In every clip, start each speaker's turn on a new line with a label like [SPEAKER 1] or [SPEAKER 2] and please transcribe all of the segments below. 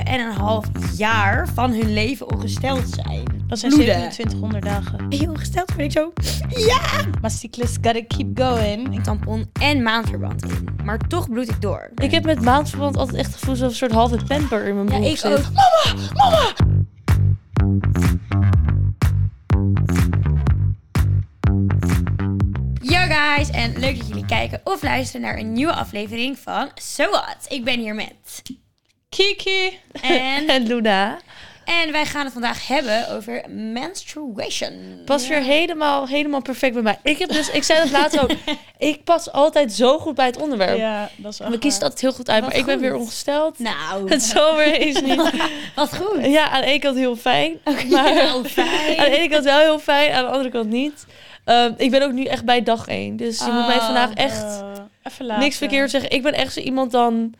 [SPEAKER 1] 7,5 jaar van hun leven ongesteld zijn.
[SPEAKER 2] Dat zijn
[SPEAKER 1] Bloeden.
[SPEAKER 2] 2700 dagen.
[SPEAKER 1] Ben je ongesteld? Ben ik zo...
[SPEAKER 2] Maar cyclist gotta keep going.
[SPEAKER 1] Ik tampon en maandverband in. Maar toch bloed ik door.
[SPEAKER 2] Ik heb met maandverband altijd echt het gevoel alsof een soort halve pamper in mijn broek zit.
[SPEAKER 1] Mama! Mama! Yo guys, en leuk dat jullie kijken of luisteren naar een nieuwe aflevering van So What. Ik ben hier met.
[SPEAKER 2] Kiki
[SPEAKER 1] En,
[SPEAKER 2] en Luna.
[SPEAKER 1] en wij gaan het vandaag hebben over menstruation.
[SPEAKER 2] Pas weer helemaal, helemaal perfect bij mij. Ik heb dus, ik zei dat laatst ook, ik pas altijd zo goed bij het onderwerp.
[SPEAKER 3] Ja, dat is echt
[SPEAKER 2] We kiezen het
[SPEAKER 3] waar.
[SPEAKER 2] altijd heel goed uit,
[SPEAKER 1] Wat
[SPEAKER 2] maar ik ben
[SPEAKER 1] goed.
[SPEAKER 2] weer ongesteld.
[SPEAKER 1] Nou,
[SPEAKER 2] Het zomer is niet.
[SPEAKER 1] wat goed.
[SPEAKER 2] Ja, aan de ene kant heel fijn. maar
[SPEAKER 1] Heel
[SPEAKER 2] aan de
[SPEAKER 1] fijn.
[SPEAKER 2] ene kant wel heel fijn, aan de andere kant niet. Ehm, ik ben ook nu echt bij dag één. Dus je moet mij
[SPEAKER 1] Oh,
[SPEAKER 2] vandaag echt
[SPEAKER 3] Eh, even laten.
[SPEAKER 2] niks verkeerd zeggen. Ik ben echt zo iemand dan,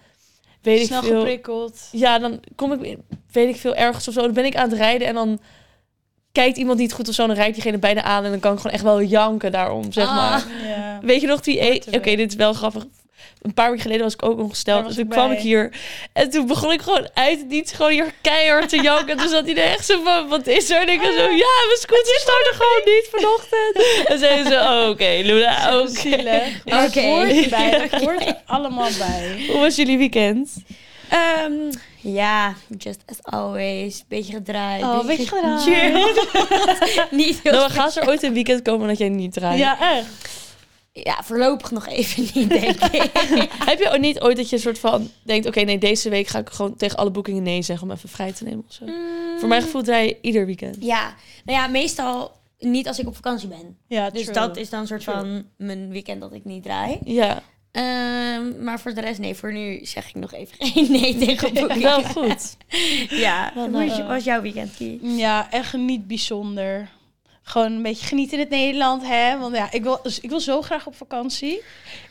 [SPEAKER 2] weet
[SPEAKER 3] Snel
[SPEAKER 2] ik veel.
[SPEAKER 3] geprikkeld.
[SPEAKER 2] Ja, dan kom ik, weet ik veel, ergens of zo. Dan ben ik aan het rijden en dan kijkt iemand niet goed of zo. En dan rijdt diegene bijna aan en dan kan ik gewoon echt wel janken daarom, zeg
[SPEAKER 1] Ah.
[SPEAKER 2] maar.
[SPEAKER 3] Ja.
[SPEAKER 2] Weet je nog die... e-
[SPEAKER 3] Korte
[SPEAKER 2] Oké,
[SPEAKER 3] week.
[SPEAKER 2] dit is wel grappig. Een paar weken geleden was ik ook ongesteld.
[SPEAKER 3] Daar
[SPEAKER 2] En
[SPEAKER 3] was
[SPEAKER 2] toen
[SPEAKER 3] ik
[SPEAKER 2] kwam
[SPEAKER 3] bij.
[SPEAKER 2] ik hier. En toen begon ik gewoon uit het niets gewoon hier keihard te janken. En toen zat iedereen echt zo van, wat is er? En ik was zo, ja, mijn scooter startte gewoon niet vanochtend. En zeiden ze, oh, oké, Luna, oké.
[SPEAKER 3] Zielig.
[SPEAKER 1] Oké.
[SPEAKER 3] Maar Het hoort erbij. Het hoort er allemaal bij.
[SPEAKER 2] Hoe was jullie weekend?
[SPEAKER 1] Ehm, ja, just as always. Beetje gedraaid. ge- Niet heel
[SPEAKER 2] Nou, gaat er ooit een weekend komen dat jij niet draait?
[SPEAKER 3] Ja, echt.
[SPEAKER 1] Ja, voorlopig nog even niet, denk ik.
[SPEAKER 2] Heb je ook niet ooit dat je een soort van denkt, oké, nee, deze week ga ik gewoon tegen alle boekingen nee zeggen om even vrij te nemen of zo? Voor mijn gevoel draai je ieder weekend.
[SPEAKER 1] Ja, nou ja, meestal niet als ik op vakantie ben.
[SPEAKER 3] Ja,
[SPEAKER 1] Dus
[SPEAKER 3] true.
[SPEAKER 1] dat is dan een soort van mijn weekend dat ik niet draai.
[SPEAKER 2] Ja,
[SPEAKER 1] Ehm, maar voor de rest, nee, voor nu zeg ik nog even geen nee tegen boeken.
[SPEAKER 2] wel goed.
[SPEAKER 1] Ja,
[SPEAKER 2] Wel
[SPEAKER 1] hoe is-
[SPEAKER 3] nou.
[SPEAKER 1] was jouw weekend, Kie?
[SPEAKER 3] Ja, echt niet bijzonder. Gewoon een beetje genieten in het Nederland, hè? Want ja, ik wil, dus ik wil zo graag op vakantie.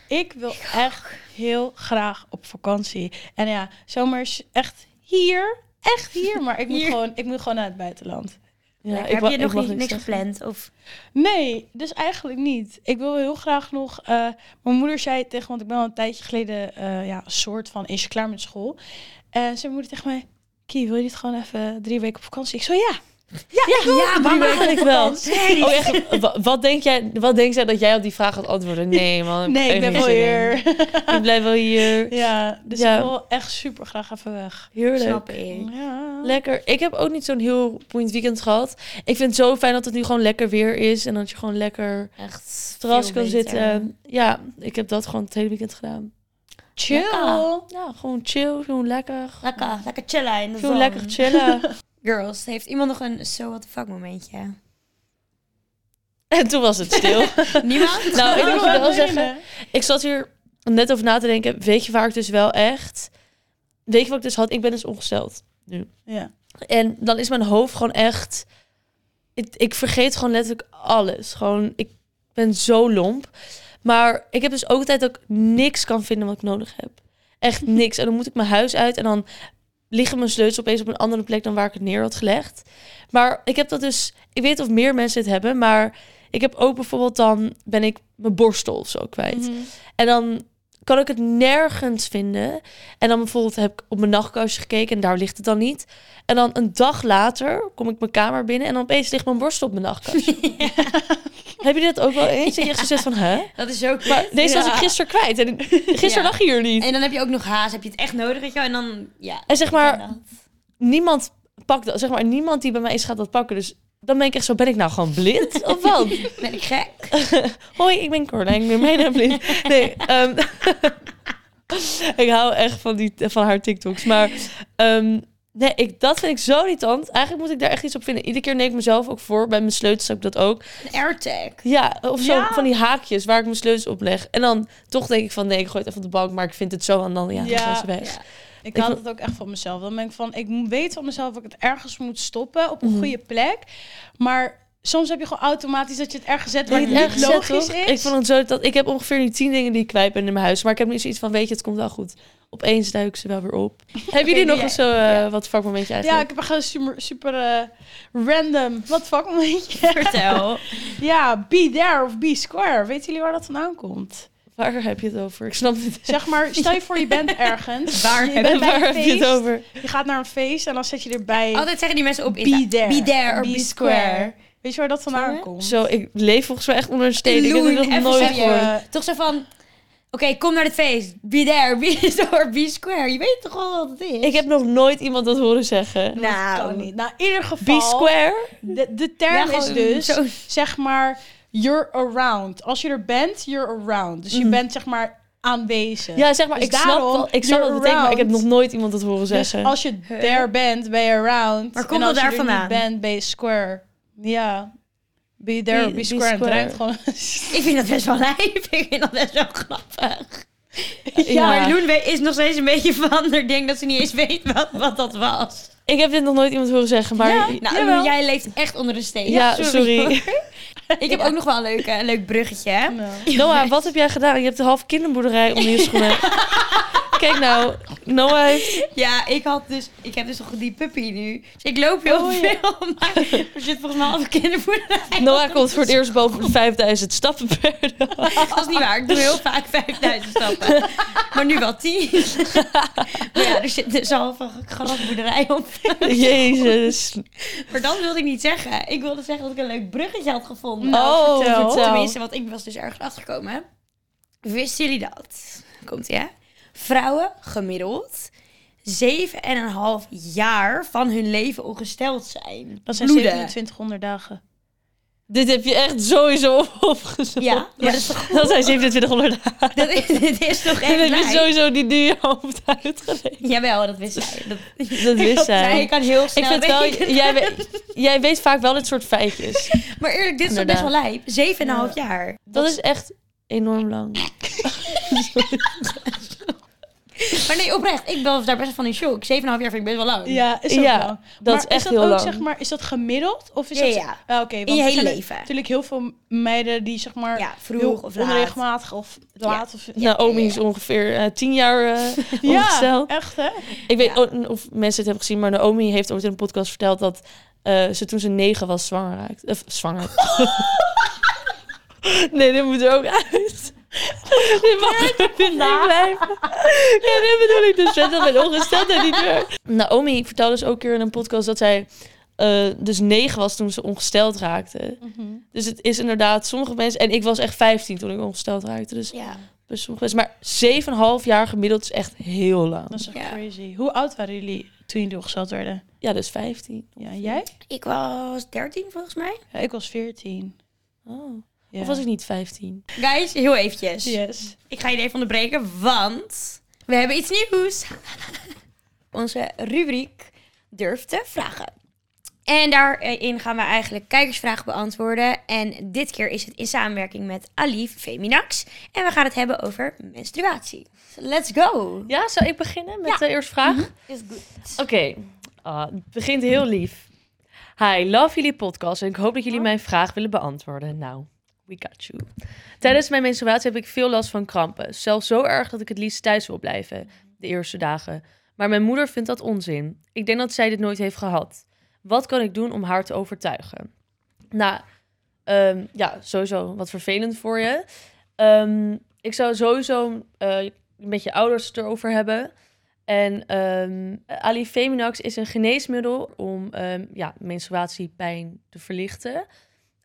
[SPEAKER 3] Ik wil echt heel graag op vakantie. En ja, zomer is echt hier. Echt hier. Maar ik moet,
[SPEAKER 1] Hier.
[SPEAKER 3] Gewoon, ik moet gewoon naar het buitenland.
[SPEAKER 2] Ja,
[SPEAKER 1] Heb
[SPEAKER 2] wa-
[SPEAKER 1] je nog
[SPEAKER 2] mag
[SPEAKER 1] niet, niks
[SPEAKER 2] zeggen.
[SPEAKER 1] gepland? Of...
[SPEAKER 3] Nee, dus eigenlijk niet. Ik wil heel graag nog. eh, mijn moeder zei tegen, want ik ben al een tijdje geleden, eh, ja, soort van, is je klaar met school? En ze moeder tegen mij, Kie, wil je niet gewoon even drie weken op vakantie? Ik zo, ja.
[SPEAKER 1] Ja, ja mama,
[SPEAKER 2] weken ik wel.
[SPEAKER 1] Nee.
[SPEAKER 2] Oh, echt? Wa- Wat denk jij, wat denkt zij dat jij op die vraag gaat antwoorden? Nee, man.
[SPEAKER 3] Nee, ik
[SPEAKER 2] heb
[SPEAKER 3] ben
[SPEAKER 2] geen
[SPEAKER 3] wel
[SPEAKER 2] zin in.
[SPEAKER 3] hier.
[SPEAKER 2] Ik blijf wel hier.
[SPEAKER 3] Ja, dus
[SPEAKER 2] Ja.
[SPEAKER 3] ik wil echt super graag even weg.
[SPEAKER 2] Heerlijk.
[SPEAKER 1] Snap ik.
[SPEAKER 3] Ja.
[SPEAKER 2] Lekker. Ik heb ook niet zo'n heel boeiend weekend gehad. Ik vind het zo fijn dat het nu gewoon lekker weer is en dat je gewoon lekker op
[SPEAKER 1] Echt
[SPEAKER 2] het terras
[SPEAKER 1] veel
[SPEAKER 2] kan
[SPEAKER 1] beter.
[SPEAKER 2] zitten. Ja, ik heb dat gewoon het hele weekend gedaan.
[SPEAKER 3] Chill.
[SPEAKER 1] Lekker.
[SPEAKER 2] Ja, gewoon chill, gewoon lekker.
[SPEAKER 1] Lekker, lekker chillen in de zon.
[SPEAKER 2] Gewoon lekker chillen.
[SPEAKER 1] Girls, heeft iemand nog een so what the fuck momentje?
[SPEAKER 2] en toen was het stil.
[SPEAKER 1] Niemand?
[SPEAKER 2] Nou, ik moet je
[SPEAKER 3] Wat
[SPEAKER 2] wel
[SPEAKER 3] wil je?
[SPEAKER 2] zeggen, ik zat hier net over na te denken. Weet je waar ik dus wel echt... Weet je wat ik dus had? Ik ben dus ongesteld.
[SPEAKER 3] Ja.
[SPEAKER 2] En dan is mijn hoofd gewoon echt... Ik, ik vergeet gewoon letterlijk alles. Gewoon, ik ben zo lomp. Maar ik heb dus ook altijd dat ik niks kan vinden wat ik nodig heb. Echt niks. En dan moet ik mijn huis uit en dan liggen mijn sleutels opeens op een andere plek dan waar ik het neer had gelegd. Maar ik heb dat dus... Ik weet of meer mensen het hebben, maar ik heb ook bijvoorbeeld dan... ben ik mijn borstel of zo kwijt. En dan kan ik het nergens vinden. En dan bijvoorbeeld heb ik op mijn nachtkousje gekeken en daar ligt het dan niet. En dan een dag later kom ik mijn kamer binnen en dan opeens ligt mijn borst op mijn nachtkousje. Heb je dat ook wel eens? Dat je echt zo zegt van, hè?
[SPEAKER 1] Dat is ook
[SPEAKER 2] Maar deze was
[SPEAKER 1] Ja.
[SPEAKER 2] ik gisteren kwijt en gisteren
[SPEAKER 1] Ja.
[SPEAKER 2] lag je hier niet.
[SPEAKER 1] En dan heb je ook nog haast, heb je het echt nodig, weet je wel? En dan, ja.
[SPEAKER 2] En zeg
[SPEAKER 1] ik ken
[SPEAKER 2] maar-
[SPEAKER 1] dat.
[SPEAKER 2] Niemand pakt dat, zeg maar, niemand die bij mij is gaat dat pakken. Dus dan ben ik echt zo, ben ik nou gewoon blind of wat?
[SPEAKER 1] Ben ik gek?
[SPEAKER 2] Hoi, ik ben Corlijn, ik ben bijna blind. Nee, ehm, ik hou echt van, die, van haar TikToks. Maar ehm, nee, ik, dat vind ik zo irritant. Eigenlijk moet ik daar echt iets op vinden. Iedere keer neem ik mezelf ook voor. Bij mijn sleutels heb ik dat ook.
[SPEAKER 1] Een AirTag.
[SPEAKER 2] Ja, of zo
[SPEAKER 3] Ja.
[SPEAKER 2] van die haakjes waar ik mijn sleutels op leg. En dan toch denk ik van nee, ik gooi het even op de bank. Maar ik vind het zo en dan, ja, dan
[SPEAKER 3] Ja.
[SPEAKER 2] zijn ze weg.
[SPEAKER 1] Ja.
[SPEAKER 3] Ik
[SPEAKER 2] Ik
[SPEAKER 3] haal
[SPEAKER 2] wil-
[SPEAKER 3] het ook echt van mezelf. Dan ben ik van, ik m- weet van mezelf dat ik het ergens moet stoppen op een
[SPEAKER 2] Mhm.
[SPEAKER 3] goede plek. Maar soms heb je gewoon automatisch dat je het ergens zet waar
[SPEAKER 2] Ik
[SPEAKER 3] het
[SPEAKER 2] vind het
[SPEAKER 3] niet
[SPEAKER 2] echt
[SPEAKER 3] logisch
[SPEAKER 2] zet, toch?
[SPEAKER 3] is.
[SPEAKER 2] Ik vond het zo dat ik heb ongeveer nu tien dingen die ik kwijt ben in mijn huis, maar ik heb nu zoiets van weet je, het komt wel goed. Opeens duik ik ze wel weer op. Hebben jullie
[SPEAKER 1] doe
[SPEAKER 2] nog
[SPEAKER 1] jij-
[SPEAKER 2] eens zo eh, wat
[SPEAKER 3] ja,
[SPEAKER 2] vakmomentje eigenlijk?
[SPEAKER 3] ik heb echt een super, super eh, random. Wat fuck momentje.
[SPEAKER 1] Vertel.
[SPEAKER 3] Ja, be there of be square. Weten jullie waar dat vandaan komt?
[SPEAKER 2] Waar heb je het over? Ik snap het.
[SPEAKER 3] Zeg maar, stel je voor je bent ergens.
[SPEAKER 1] Waar
[SPEAKER 3] je
[SPEAKER 1] heb-
[SPEAKER 3] bent bij
[SPEAKER 2] Waar
[SPEAKER 3] een
[SPEAKER 2] heb je het
[SPEAKER 3] feest.
[SPEAKER 2] over? Oh,
[SPEAKER 3] Je gaat naar een feest en dan zet je erbij.
[SPEAKER 1] Altijd zeggen die mensen op
[SPEAKER 3] be
[SPEAKER 1] Insta.
[SPEAKER 3] there.
[SPEAKER 1] Be there or be,
[SPEAKER 3] Be
[SPEAKER 1] square.
[SPEAKER 3] Weet je waar dat vandaan
[SPEAKER 1] Sorry?
[SPEAKER 3] komt?
[SPEAKER 2] Zo, ik leef volgens mij echt onder een steen. Ik heb
[SPEAKER 1] Loen,
[SPEAKER 2] het nog
[SPEAKER 1] even
[SPEAKER 2] nooit
[SPEAKER 1] serieus.
[SPEAKER 2] gehoord.
[SPEAKER 3] Eh,
[SPEAKER 1] Toch zo van, oké, kom naar het feest. Be there, be or be square. Je weet toch wel wat het is?
[SPEAKER 2] Ik heb nog nooit iemand dat horen zeggen.
[SPEAKER 3] dat kan niet. Nou, in ieder geval.
[SPEAKER 2] Be square.
[SPEAKER 3] De, de
[SPEAKER 1] Ja,
[SPEAKER 3] term is
[SPEAKER 1] gewoon
[SPEAKER 3] dus,
[SPEAKER 1] zo.
[SPEAKER 3] zeg maar, you're around. Als je er bent, you're around. Dus je
[SPEAKER 2] Mhm.
[SPEAKER 3] bent, zeg maar, aanwezig.
[SPEAKER 2] Ja, zeg maar,
[SPEAKER 3] Dus
[SPEAKER 2] ik snap,
[SPEAKER 3] daarom,
[SPEAKER 2] wel- ik snap wat
[SPEAKER 3] you're
[SPEAKER 2] het betekent, maar ik heb nog
[SPEAKER 3] around.
[SPEAKER 2] nooit iemand dat horen
[SPEAKER 3] Dus
[SPEAKER 2] zeggen.
[SPEAKER 3] als je
[SPEAKER 1] Huh?
[SPEAKER 3] there bent, ben je around.
[SPEAKER 1] Maar
[SPEAKER 3] En
[SPEAKER 1] komt dat
[SPEAKER 3] als je
[SPEAKER 1] daar
[SPEAKER 3] er
[SPEAKER 1] vandaan?
[SPEAKER 3] niet bent, ben je square. Ja. Be there,
[SPEAKER 2] Be-
[SPEAKER 3] be,
[SPEAKER 2] be
[SPEAKER 3] square. En het
[SPEAKER 2] square.
[SPEAKER 3] rijmt gewoon.
[SPEAKER 1] Ik vind dat best wel lijp. Ik vind dat best wel grappig.
[SPEAKER 2] Ja.
[SPEAKER 1] Maar Loen we- is nog steeds een beetje van haar ding dat ze niet eens weet wat, wat dat was.
[SPEAKER 2] Ik heb dit nog nooit iemand horen zeggen, maar...
[SPEAKER 3] Ja,
[SPEAKER 1] Nou,
[SPEAKER 3] Jawel.
[SPEAKER 1] Loen, jij leeft echt onder de steen.
[SPEAKER 2] Ja, sorry.
[SPEAKER 1] Ik heb ook nog wel een, leuke, een leuk bruggetje. hè?
[SPEAKER 3] Nou.
[SPEAKER 2] Noah, wat heb jij gedaan? Je hebt de half kinderboerderij onder je schoenen. Kijk nou, Noah heeft...
[SPEAKER 1] Ja, ik had dus, ik heb dus nog die puppy nu. Dus ik loop heel
[SPEAKER 2] Oh, ja.
[SPEAKER 1] veel, maar er zit volgens mij half kinderboerderij.
[SPEAKER 2] Noah komt voor het eerst boven de 5000 stappen per dag.
[SPEAKER 1] Dat is niet waar. Ik doe heel vaak 5000 stappen. Maar nu wel 10. Maar ja, er zit dus al van grasboerderij op.
[SPEAKER 2] Jezus.
[SPEAKER 1] Maar dat wilde ik niet zeggen. Ik wilde zeggen dat ik een leuk bruggetje had gevonden. eh,
[SPEAKER 2] Oh,
[SPEAKER 3] vertel.
[SPEAKER 2] vertel.
[SPEAKER 1] Tenminste, want ik was dus erg achtergekomen. hè. Wisten jullie dat? Komt ja. Vrouwen gemiddeld 7,5 jaar van hun leven ongesteld zijn.
[SPEAKER 3] Dat zijn
[SPEAKER 1] Bloeden.
[SPEAKER 3] 2700 dagen.
[SPEAKER 2] Dit heb je echt sowieso op- opgezocht.
[SPEAKER 1] Ja, maar dat is
[SPEAKER 2] Dat zijn 2700 dagen.
[SPEAKER 1] Dat is, dit is toch
[SPEAKER 2] En
[SPEAKER 1] echt
[SPEAKER 2] heb je
[SPEAKER 1] lijp?
[SPEAKER 2] sowieso die nu je hoofd uitgelegd.
[SPEAKER 1] Jawel, dat wist Nou, jij. Dat,
[SPEAKER 2] Dat wist zij.
[SPEAKER 1] Ik kan heel snel
[SPEAKER 2] Ik vind het wel,
[SPEAKER 1] rekenen.
[SPEAKER 2] jij, weet, jij weet vaak wel dit soort feitjes.
[SPEAKER 1] Maar eerlijk, dit is toch best wel
[SPEAKER 2] Inderdaad.
[SPEAKER 1] lijp. Zeven en een half jaar.
[SPEAKER 2] Dat is echt enorm lang.
[SPEAKER 1] Maar nee, oprecht. Ik was daar best van in shock. Zeven en een half jaar vind ik best wel lang.
[SPEAKER 3] Ja, is dat
[SPEAKER 2] Ja,
[SPEAKER 3] wel.
[SPEAKER 2] dat is echt heel
[SPEAKER 3] ook,
[SPEAKER 2] lang.
[SPEAKER 3] Zeg maar, is dat gemiddeld? Of is
[SPEAKER 1] Ja,
[SPEAKER 3] dat...
[SPEAKER 1] ja.
[SPEAKER 3] Ah, oké, want
[SPEAKER 1] je
[SPEAKER 3] er
[SPEAKER 1] hele
[SPEAKER 3] zijn
[SPEAKER 1] leven.
[SPEAKER 3] natuurlijk heel veel meiden die zeg maar...
[SPEAKER 1] Ja, vroeg
[SPEAKER 3] heel
[SPEAKER 1] of laat.
[SPEAKER 3] Onregelmatig of laat. Of,
[SPEAKER 2] Naomi is ongeveer eh, tien jaar eh ongesteld.
[SPEAKER 3] echt hè?
[SPEAKER 2] Ik weet
[SPEAKER 1] Ja.
[SPEAKER 2] ook of mensen het hebben gezien, maar Naomi heeft ooit in een podcast verteld dat eh, ze toen ze negen was zwanger raakte. Of zwanger. nee, dit moet er ook uit. Dit mag er niet blijven. Ja, dit bedoel ik dus net dat mijn ongesteldheid niet meer. Naomi vertelde dus ook een keer in een podcast dat zij eh, dus negen was toen ze ongesteld raakte. Dus het is inderdaad sommige mensen... En ik was echt 15 toen ik ongesteld raakte. Dus
[SPEAKER 1] Ja.
[SPEAKER 2] bij sommige mensen... Maar 7,5 jaar gemiddeld is echt heel lang. Dus,
[SPEAKER 3] Dat is echt
[SPEAKER 1] Ja.
[SPEAKER 3] crazy. Hoe oud waren jullie toen jullie opgesteld werden?
[SPEAKER 2] Ja, dus 15.
[SPEAKER 3] Ja, jij?
[SPEAKER 1] Ik was 13 volgens mij.
[SPEAKER 3] Ja, ik was 14.
[SPEAKER 2] Oh.
[SPEAKER 3] Ja.
[SPEAKER 2] Of was ik niet 15?
[SPEAKER 1] Guys, heel eventjes.
[SPEAKER 3] Yes.
[SPEAKER 1] Ik ga jullie even onderbreken, want we hebben iets nieuws. Onze rubriek Durf te vragen. En daarin gaan we eigenlijk kijkersvragen beantwoorden. En dit keer is het in samenwerking met Alif Feminax. En we gaan het hebben over menstruatie. Let's go!
[SPEAKER 2] Ja, zou ik beginnen met
[SPEAKER 1] Ja.
[SPEAKER 2] de eerste vraag?
[SPEAKER 1] Is goed.
[SPEAKER 2] Oké, Ah, het begint heel lief. Hi, love jullie podcast en ik hoop dat jullie mijn vraag willen beantwoorden. Nou, we got you. Tijdens mijn menstruatie heb ik veel last van krampen. Zelfs zo erg dat ik het liefst thuis wil blijven, de eerste dagen. Maar mijn moeder vindt dat onzin. Ik denk dat zij dit nooit heeft gehad. Wat kan ik doen om haar te overtuigen? Nou, ehm, ja, sowieso wat vervelend voor je. Ehm, ik zou sowieso eh, met je ouders het erover hebben. En ehm Alifeminax is een geneesmiddel om ehm, ja, menstruatiepijn te verlichten.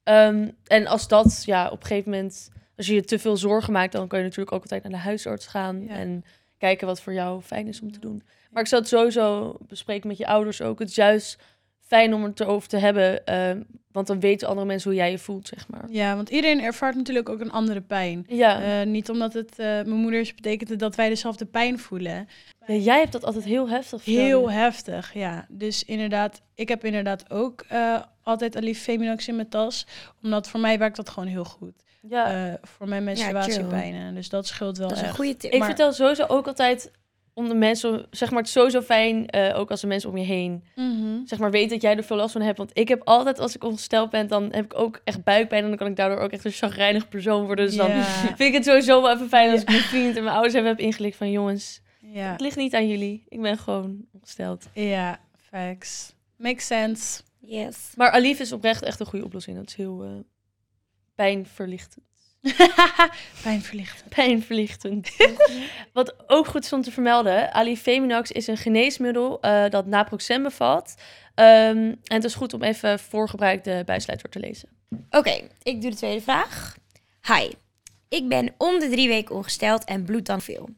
[SPEAKER 2] Ehm, en als dat ja, op een gegeven moment, als je je te veel zorgen maakt, dan kan je natuurlijk ook altijd naar de huisarts gaan
[SPEAKER 3] Ja.
[SPEAKER 2] en kijken wat voor jou fijn is om te doen. Maar ik zou het sowieso bespreken met je ouders ook. Het is juist fijn om het erover te hebben, ehm, want dan weten andere mensen hoe jij je voelt, zeg maar.
[SPEAKER 3] Ja, want iedereen ervaart natuurlijk ook een andere pijn.
[SPEAKER 2] Ja,
[SPEAKER 3] Eh, niet omdat het eh, mijn moeder is, betekent het dat wij dezelfde pijn voelen.
[SPEAKER 2] Ja, jij hebt dat altijd heel heftig.
[SPEAKER 3] Heel
[SPEAKER 2] heftig.
[SPEAKER 3] heftig, ja. Dus inderdaad, ik heb inderdaad ook eh, altijd Alif Feminax in mijn tas. Omdat voor mij werkt dat gewoon heel goed.
[SPEAKER 2] Ja.
[SPEAKER 3] Eh, voor mijn menstruatiepijnen. dus dat scheelt wel
[SPEAKER 1] Dat is een
[SPEAKER 3] echt.
[SPEAKER 1] goede tip.
[SPEAKER 2] ik
[SPEAKER 3] Eh, maar-
[SPEAKER 2] vertel sowieso ook altijd om de mensen, zeg maar, het is sowieso fijn, eh, ook als de mensen om je heen,
[SPEAKER 3] Mhm.
[SPEAKER 2] zeg maar, weten dat jij er veel last van hebt. Want ik heb altijd, als ik ongesteld ben, dan heb ik ook echt buikpijn en dan kan ik daardoor ook echt een chagrijnig persoon worden. Dus dan
[SPEAKER 3] Ja,
[SPEAKER 2] vind ik het sowieso wel even fijn als ik mijn vriend en mijn ouders even heb ingelicht van, jongens,
[SPEAKER 3] ja,
[SPEAKER 2] het ligt niet aan jullie. Ik ben gewoon ongesteld.
[SPEAKER 3] ja, facts. Makes sense.
[SPEAKER 1] Yes.
[SPEAKER 2] Maar Alif is oprecht echt een goede oplossing. Dat is heel eh, pijnverlichtend.
[SPEAKER 3] Pijnverlichten.
[SPEAKER 2] Pijnverlichtend. Wat ook goed is om te vermelden. Alifeminax is een geneesmiddel eh, dat naproxen bevat. Ehm, en het is goed om even voor gebruik de bijsluiter te lezen.
[SPEAKER 1] Oké, ik doe de tweede vraag. Hi, ik ben om de drie weken ongesteld en bloed dan veel.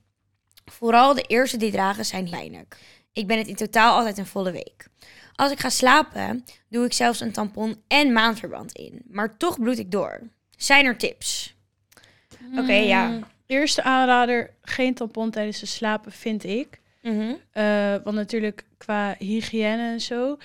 [SPEAKER 1] Vooral de eerste drie dagen zijn pijnlijk. Ik ben het in totaal altijd een volle week. Als ik ga slapen, doe ik zelfs een tampon en maandverband in. Maar toch bloed ik door. Zijn er tips? Oké, ja.
[SPEAKER 3] Mm.
[SPEAKER 2] Hmm.
[SPEAKER 3] Eerste aanrader, geen tampon tijdens het slapen, vind ik. Eh, want natuurlijk qua hygiëne en zo.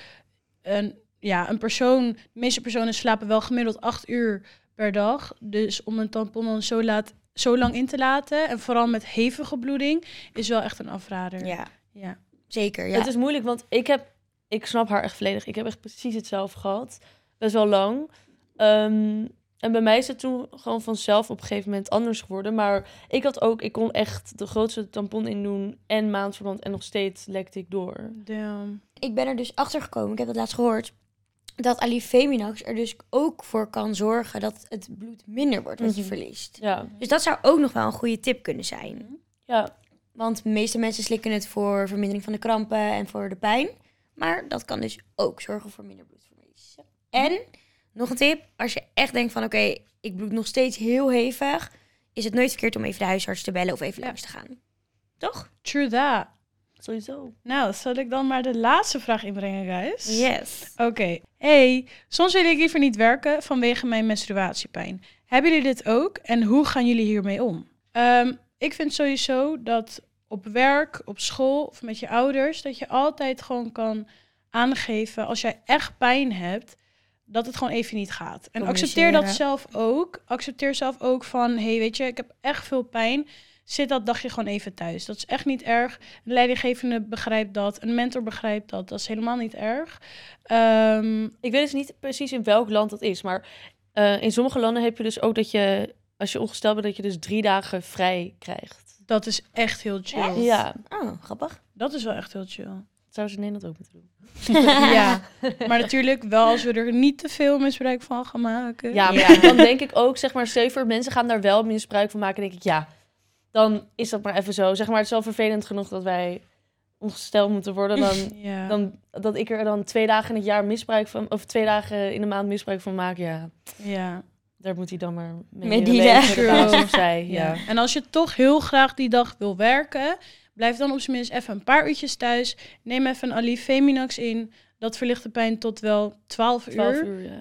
[SPEAKER 3] En ja, een persoon, de meeste personen slapen wel gemiddeld acht uur per dag. Dus om een tampon dan zo, laat, zo lang in te laten, en vooral met hevige bloeding, is wel echt een afrader.
[SPEAKER 1] Ja,
[SPEAKER 3] Ja.
[SPEAKER 1] zeker. Ja.
[SPEAKER 2] Het is moeilijk, want ik heb... Ik snap haar echt volledig. Ik heb echt precies hetzelfde gehad. Best wel lang. Ehm, en bij mij is het toen gewoon vanzelf op een gegeven moment anders geworden. Maar ik had ook... Ik kon echt de grootste tampon in doen en maandverband. En nog steeds lekte ik door.
[SPEAKER 3] Damn.
[SPEAKER 1] ik ben er dus achter gekomen, ik heb dat laatst gehoord, dat alifeminax er dus ook voor kan zorgen dat het bloed minder wordt wat je
[SPEAKER 2] Mhm.
[SPEAKER 1] verliest.
[SPEAKER 2] Ja,
[SPEAKER 1] Dus dat zou ook nog wel een goede tip kunnen zijn.
[SPEAKER 2] ja.
[SPEAKER 1] Want de meeste mensen slikken het voor vermindering van de krampen en voor de pijn. Maar dat kan dus ook zorgen voor minder bloedverlies. En nog een tip, als je echt denkt van oké, ik bloed nog steeds heel hevig, is het nooit verkeerd om even de huisarts te bellen of even
[SPEAKER 3] Ja.
[SPEAKER 1] langs te gaan. Toch?
[SPEAKER 3] True that.
[SPEAKER 2] sowieso.
[SPEAKER 3] Nou, zal ik dan maar de laatste vraag inbrengen, guys?
[SPEAKER 1] Yes.
[SPEAKER 3] Oké. Hey, soms wil ik liever niet werken vanwege mijn menstruatiepijn. Hebben jullie dit ook en hoe gaan jullie hiermee om? Ehm, ik vind sowieso dat op werk, op school of met je ouders, dat je altijd gewoon kan aangeven als jij echt pijn hebt, dat het gewoon even niet gaat. En accepteer dat
[SPEAKER 1] Communiceren.
[SPEAKER 3] zelf ook. Accepteer zelf ook van, hey, weet je, ik heb echt veel pijn. Zit dat dagje gewoon even thuis. Dat is echt niet erg. Een leidinggevende begrijpt dat. Een mentor begrijpt dat. Dat is helemaal niet erg. Ehm,
[SPEAKER 2] Ik weet dus niet precies in welk land dat is, maar eh, in sommige landen heb je dus ook dat je, als je ongesteld bent, dat je dus drie dagen vrij krijgt.
[SPEAKER 3] dat is echt heel chill.
[SPEAKER 1] Echt?
[SPEAKER 2] Ja,
[SPEAKER 1] Oh, grappig.
[SPEAKER 3] Dat is wel echt heel chill.
[SPEAKER 2] dat zouden ze in Nederland ook moeten doen.
[SPEAKER 3] ja. Maar natuurlijk wel als we er niet te veel misbruik van gaan maken.
[SPEAKER 2] Ja, maar
[SPEAKER 1] Ja.
[SPEAKER 2] ja, dan denk ik ook, zeg maar, zeven mensen gaan daar wel misbruik van maken. denk ik, ja, dan is dat maar even zo. Zeg maar, het is wel vervelend genoeg dat wij ongesteld moeten worden. Dan,
[SPEAKER 3] Ja.
[SPEAKER 2] dan, dat ik er dan twee dagen in het jaar misbruik van, of twee dagen in de maand misbruik van maak, ja,
[SPEAKER 3] ja.
[SPEAKER 2] daar moet hij dan maar mee
[SPEAKER 1] Met
[SPEAKER 2] leren
[SPEAKER 1] die
[SPEAKER 2] leven,
[SPEAKER 3] dag.
[SPEAKER 2] de baas of zij, ja.
[SPEAKER 3] Ja. En als je toch heel graag die dag wil werken, blijf dan op zijn minst even een paar uurtjes thuis. Neem even een Alifeminax in. Dat verlicht de pijn tot wel 12 uur.
[SPEAKER 2] 12 uur, ja.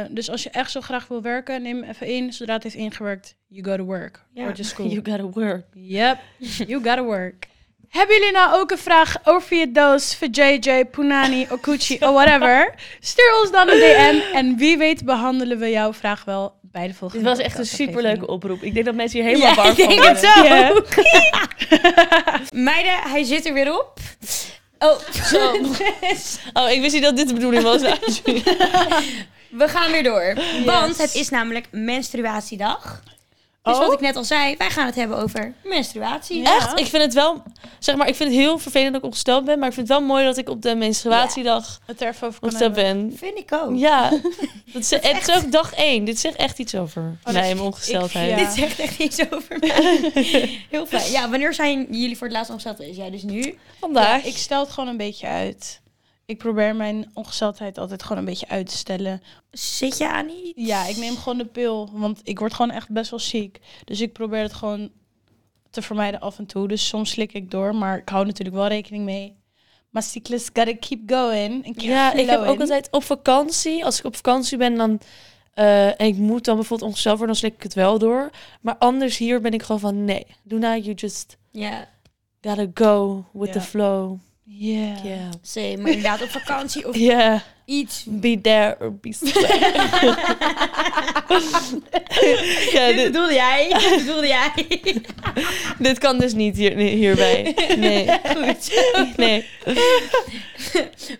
[SPEAKER 3] Eh, dus als je echt zo graag wil werken, neem hem even in. Zodra het heeft ingewerkt, you go to work.
[SPEAKER 1] Ja.
[SPEAKER 3] Or to school.
[SPEAKER 2] You gotta work.
[SPEAKER 3] Yep, you gotta work. Hebben jullie nou ook een vraag over je doos, voor JJ, Punani, Okuchi of whatever? Stuur ons dan een DM en wie weet behandelen we jouw vraag wel bij de
[SPEAKER 2] Dit
[SPEAKER 3] volgende
[SPEAKER 2] was echt een
[SPEAKER 3] podcastaflevering.
[SPEAKER 2] superleuke oproep. Ik denk dat mensen hier helemaal warm
[SPEAKER 1] ik
[SPEAKER 2] van
[SPEAKER 1] denk het
[SPEAKER 2] worden.
[SPEAKER 1] zo.
[SPEAKER 3] Ja.
[SPEAKER 1] Meiden, hij zit er weer op. Oh,
[SPEAKER 2] Oh, ik wist niet dat dit de bedoeling was.
[SPEAKER 1] we gaan weer door. Want het is namelijk menstruatiedag. Dus
[SPEAKER 3] Oh.
[SPEAKER 1] wat ik net al zei, wij gaan het hebben over menstruatie.
[SPEAKER 3] Ja.
[SPEAKER 2] Echt, ik vind het wel... Zeg maar, ik vind het heel vervelend dat ik ongesteld ben. Maar ik vind het wel mooi dat ik op de menstruatiedag
[SPEAKER 3] Het er even over kan
[SPEAKER 2] ongesteld
[SPEAKER 3] hebben. Oh.
[SPEAKER 2] ben.
[SPEAKER 1] Vind ik ook.
[SPEAKER 2] Ja, dat is, het is ook dag één. Dit zegt echt iets over
[SPEAKER 3] Oh, dat
[SPEAKER 2] mij,
[SPEAKER 3] is-
[SPEAKER 2] mijn ongesteldheid.
[SPEAKER 3] ik- ja.
[SPEAKER 1] Dit zegt echt iets over mij. Heel fijn. Ja, wanneer zijn jullie voor het laatst ongesteld geweest? Ja, dus nu.
[SPEAKER 2] Vandaag.
[SPEAKER 3] Ja, ik stel het gewoon een beetje uit. Ik probeer mijn ongesteldheid altijd gewoon een beetje uit te stellen.
[SPEAKER 1] Zit je aan iets?
[SPEAKER 3] Ja, ik neem gewoon de pil, want ik word gewoon echt best wel ziek. Dus ik probeer het gewoon te vermijden af en toe. Dus soms slik ik door, maar ik hou natuurlijk wel rekening mee. Maar cyclus gotta keep going. and keep
[SPEAKER 2] Ja, ik heb ook
[SPEAKER 3] flowing.
[SPEAKER 2] altijd op vakantie. Als ik op vakantie ben dan, eh, en ik moet dan bijvoorbeeld ongesteld worden, dan slik ik het wel door. Maar anders hier ben ik gewoon van nee. Do not, you just
[SPEAKER 1] Ja,
[SPEAKER 2] gotta go with
[SPEAKER 3] Ja.
[SPEAKER 2] the flow.
[SPEAKER 3] Yeah.
[SPEAKER 2] Yeah.
[SPEAKER 1] same. Maar inderdaad op vakantie of
[SPEAKER 2] Yeah.
[SPEAKER 1] iets.
[SPEAKER 2] Be there or be square. ja,
[SPEAKER 1] Dit
[SPEAKER 2] dit,
[SPEAKER 1] bedoelde jij. Dit bedoelde jij.
[SPEAKER 2] dit kan dus niet hier, hierbij. Nee.
[SPEAKER 1] Goed.
[SPEAKER 2] nee.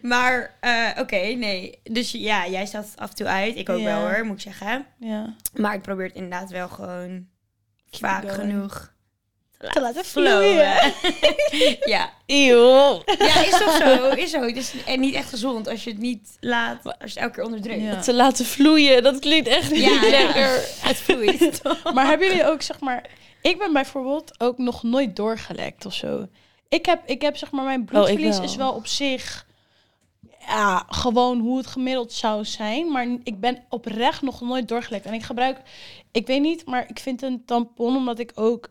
[SPEAKER 1] Maar, eh, oké, nee. Dus ja, jij staat af en toe uit. Ik ook
[SPEAKER 3] Ja.
[SPEAKER 1] wel hoor, moet ik zeggen.
[SPEAKER 3] Ja.
[SPEAKER 1] Maar ik probeer het inderdaad wel gewoon
[SPEAKER 3] Keep
[SPEAKER 1] vaak
[SPEAKER 3] it going.
[SPEAKER 1] genoeg te
[SPEAKER 4] te laten vloeien.
[SPEAKER 1] Flowen. ja.
[SPEAKER 2] Eeuw.
[SPEAKER 1] ja, is toch zo? Is zo. Het is en niet echt gezond als je het niet laat, als je het elke keer onderdrukt.
[SPEAKER 4] Ja.
[SPEAKER 2] Te laten vloeien, dat klinkt echt niet
[SPEAKER 1] Ja, ja.
[SPEAKER 2] lekker.
[SPEAKER 1] Het vloeit.
[SPEAKER 4] Maar hebben jullie ook, zeg maar... Ik ben bijvoorbeeld ook nog nooit doorgelekt of zo. Ik heb, ik heb zeg maar, mijn bloedverlies
[SPEAKER 2] Oh, wel.
[SPEAKER 4] is wel op zich... Ja, gewoon hoe het gemiddeld zou zijn. Maar ik ben oprecht nog nooit doorgelekt. En ik gebruik, ik weet niet, maar ik vind een tampon omdat ik ook...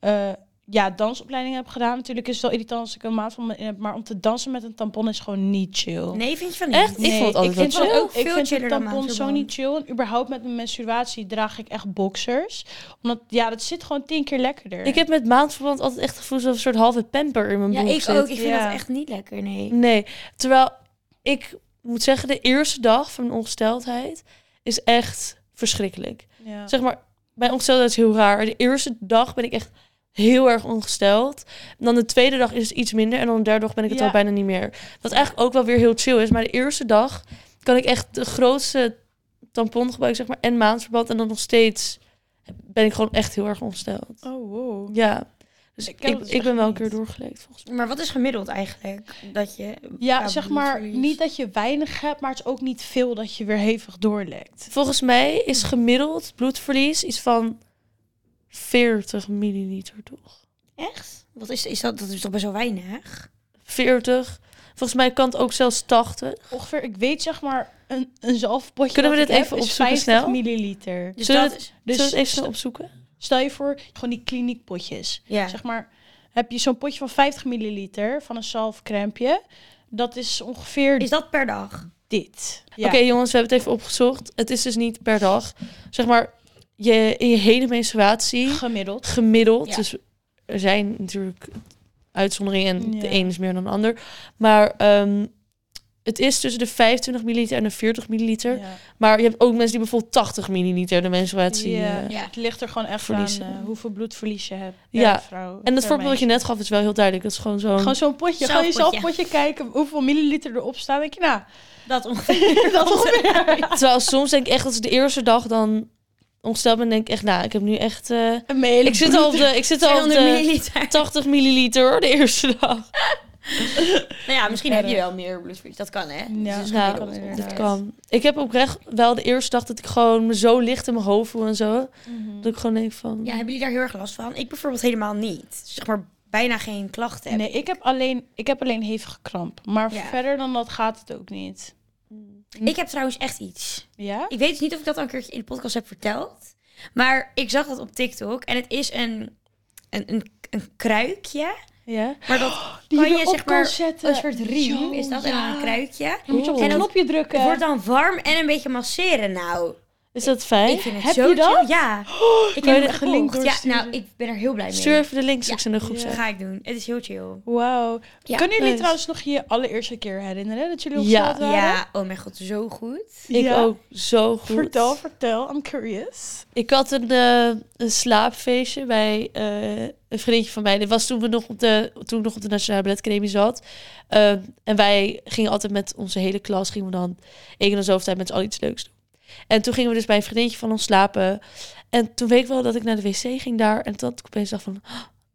[SPEAKER 4] eh, ja, dansopleiding heb gedaan. Natuurlijk is het wel irritant als ik een maand van me in heb. Maar om te dansen met een tampon is gewoon niet chill.
[SPEAKER 1] Nee, vind je van niet?
[SPEAKER 2] Echt? Ik vond het altijd wel
[SPEAKER 4] ik vind
[SPEAKER 1] chill.
[SPEAKER 4] het ook
[SPEAKER 1] Veel
[SPEAKER 4] ik vind
[SPEAKER 1] chiller
[SPEAKER 4] het
[SPEAKER 1] dan
[SPEAKER 4] tampon
[SPEAKER 1] maandverband.
[SPEAKER 4] zo niet chill. En überhaupt met mijn menstruatie draag ik echt boxers. Omdat, ja, dat zit gewoon tien keer lekkerder.
[SPEAKER 2] Ik heb met maandverband altijd echt het gevoel alsof een soort halve pamper in mijn
[SPEAKER 1] Ja,
[SPEAKER 2] broek
[SPEAKER 1] ik
[SPEAKER 2] zit.
[SPEAKER 1] ook. Ik vind
[SPEAKER 4] Ja.
[SPEAKER 1] dat echt niet lekker, nee.
[SPEAKER 2] Nee, terwijl ik moet zeggen, de eerste dag van mijn ongesteldheid is echt verschrikkelijk.
[SPEAKER 4] Ja.
[SPEAKER 2] Zeg maar, mijn ongesteldheid is heel raar. De eerste dag ben ik echt heel erg ongesteld. En dan de tweede dag is het iets minder. En dan de derde dag ben ik het
[SPEAKER 4] Ja.
[SPEAKER 2] al bijna niet meer. Wat eigenlijk ook wel weer heel chill is. Maar de eerste dag kan ik echt de grootste tampon gebruiken, zeg maar, en maandverband. En dan nog steeds ben ik gewoon echt heel erg ongesteld.
[SPEAKER 4] Oh, wow.
[SPEAKER 2] Ja. Dus
[SPEAKER 4] Ik
[SPEAKER 2] ik,
[SPEAKER 4] ken
[SPEAKER 2] ik,
[SPEAKER 4] dat dus
[SPEAKER 2] ben
[SPEAKER 4] echt
[SPEAKER 2] wel een
[SPEAKER 4] niet.
[SPEAKER 2] keer doorgelekt, volgens
[SPEAKER 1] Maar wat is gemiddeld eigenlijk? Dat je...
[SPEAKER 4] Ja,
[SPEAKER 1] qua
[SPEAKER 4] zeg maar,
[SPEAKER 1] bloedverlies?
[SPEAKER 4] niet dat je weinig hebt, maar het is ook niet veel dat je weer hevig doorlekt.
[SPEAKER 2] Volgens mij is gemiddeld bloedverlies iets van 40 milliliter, toch?
[SPEAKER 1] Echt? Wat is, is dat? Dat is toch best wel weinig?
[SPEAKER 2] 40. Volgens mij kan het ook zelfs 80.
[SPEAKER 4] Ongeveer, ik weet zeg maar, een, een zalfpotje
[SPEAKER 2] Kunnen we
[SPEAKER 4] dat
[SPEAKER 2] dit
[SPEAKER 4] ik heb
[SPEAKER 2] even
[SPEAKER 4] is
[SPEAKER 2] opzoeken
[SPEAKER 4] 50
[SPEAKER 2] snel?
[SPEAKER 4] milliliter.
[SPEAKER 1] Dus
[SPEAKER 2] Zullen
[SPEAKER 1] dat
[SPEAKER 2] we
[SPEAKER 1] is...
[SPEAKER 2] Dus Zullen
[SPEAKER 4] Dus
[SPEAKER 2] we het even snel opzoeken?
[SPEAKER 4] stel je voor, gewoon die kliniekpotjes.
[SPEAKER 1] Ja.
[SPEAKER 4] Zeg maar, heb je zo'n potje van 50 milliliter van een zalfcrempje. Dat is ongeveer
[SPEAKER 1] Is dat per dag?
[SPEAKER 4] dit. Ja.
[SPEAKER 2] Oké jongens, we hebben het even opgezocht. Het is dus niet per dag. Zeg maar, je, in je hele menstruatie,
[SPEAKER 4] Gemiddeld.
[SPEAKER 2] gemiddeld.
[SPEAKER 1] Ja.
[SPEAKER 2] Dus er zijn natuurlijk uitzonderingen en de
[SPEAKER 4] Ja.
[SPEAKER 2] een is meer dan de ander. Maar ehm, het is tussen de 25 milliliter en de 40 milliliter.
[SPEAKER 4] Ja.
[SPEAKER 2] Maar je hebt ook mensen die bijvoorbeeld 80 milliliter de menstruatie... eh,
[SPEAKER 1] Ja.
[SPEAKER 4] Het ligt er gewoon echt
[SPEAKER 2] Verliezen.
[SPEAKER 4] aan eh, hoeveel bloedverlies je hebt.
[SPEAKER 2] Ja.
[SPEAKER 4] per vrouw,
[SPEAKER 2] En dat
[SPEAKER 4] per
[SPEAKER 2] voorbeeld wat je
[SPEAKER 4] meisje.
[SPEAKER 2] net gaf is wel heel duidelijk. Dat is gewoon zo'n...
[SPEAKER 4] Gewoon zo'n potje. Gewoon in zo'n potje kijken hoeveel milliliter erop staat. denk je, nou,
[SPEAKER 1] Dat ongeveer.
[SPEAKER 4] dat ongeveer.
[SPEAKER 2] Terwijl soms denk ik echt dat ze de eerste dag dan ongesteld ben. denk ik echt, nou, ik heb nu echt... eh,
[SPEAKER 4] Een hele
[SPEAKER 2] ik, zit al op de, ik zit al op
[SPEAKER 1] 200
[SPEAKER 2] de
[SPEAKER 1] milliliter.
[SPEAKER 2] 80 milliliter hoor, de eerste dag.
[SPEAKER 1] Nou ja, misschien heb je wel meer bloedverlies. Dat kan, hè?
[SPEAKER 4] Ja,
[SPEAKER 1] Dus
[SPEAKER 2] nou,
[SPEAKER 1] gemiddeld
[SPEAKER 4] dat
[SPEAKER 1] ongeveer.
[SPEAKER 2] Dat kan. Ik heb oprecht wel de eerste dag dat ik gewoon me zo licht in mijn hoofd voel en zo.
[SPEAKER 4] bloed.
[SPEAKER 2] Dat ik gewoon denk van...
[SPEAKER 1] Mhm. Ja, hebben jullie daar heel erg last van? Ik bijvoorbeeld helemaal niet. Zeg maar, bijna geen klachten heb
[SPEAKER 4] Nee, ik heb alleen, ik heb alleen hevige kramp. Maar
[SPEAKER 1] Ja.
[SPEAKER 4] verder dan dat gaat het ook niet.
[SPEAKER 1] Ik heb trouwens echt iets.
[SPEAKER 4] Ja?
[SPEAKER 1] Ik weet dus niet of ik dat al een keertje in de podcast heb verteld. Maar ik zag dat op TikTok. En het is een, een, een, een kruikje.
[SPEAKER 4] Ja.
[SPEAKER 1] Maar dat
[SPEAKER 4] Die
[SPEAKER 1] kan je,
[SPEAKER 4] erop
[SPEAKER 1] zeg maar,
[SPEAKER 4] zetten.
[SPEAKER 1] een soort riem
[SPEAKER 4] Zo,
[SPEAKER 1] is dat. En
[SPEAKER 4] ja.
[SPEAKER 1] dan een kruikje.
[SPEAKER 4] Dan moet je op eh, het
[SPEAKER 1] En dat
[SPEAKER 4] knopje drukken.
[SPEAKER 1] Het wordt dan warm en een beetje masseren. Nou,
[SPEAKER 2] Is dat fijn?
[SPEAKER 1] ik vind het
[SPEAKER 4] heb
[SPEAKER 1] zo
[SPEAKER 4] je dat?
[SPEAKER 1] chill. Ja. ik
[SPEAKER 4] kan je
[SPEAKER 1] heb
[SPEAKER 4] de
[SPEAKER 1] het
[SPEAKER 4] link
[SPEAKER 1] gekocht. Ja,
[SPEAKER 4] doorsturen?
[SPEAKER 1] nou, ik ben er heel blij mee.
[SPEAKER 2] Stuur even de links straks in de groep.
[SPEAKER 4] Ja.
[SPEAKER 1] Dat ga ik doen. Het is heel chill.
[SPEAKER 4] Wauw.
[SPEAKER 1] Ja. dus-
[SPEAKER 4] Kunnen jullie
[SPEAKER 2] Nice.
[SPEAKER 4] trouwens nog je allereerste keer herinneren dat jullie
[SPEAKER 2] Ja.
[SPEAKER 4] opgesteld waren?
[SPEAKER 1] Ja, oh mijn god, zo goed.
[SPEAKER 2] Ik
[SPEAKER 4] Ja.
[SPEAKER 2] ook zo goed.
[SPEAKER 4] Vertel, vertel. I'm curious.
[SPEAKER 2] Ik had een, eh, een slaapfeestje bij eh, een vriendje van mij. Dit was toen, we nog op de, toen ik nog op de Nationale Balletacademie zat. Ehm, en wij gingen altijd met onze hele klas, gingen we dan één keer in zoveel tijd met z'n allen iets leuks doen. En toen gingen we dus bij een vriendinnetje van ons slapen. En toen weet ik wel dat ik naar de wc ging daar. En toen had ik opeens dacht van, oh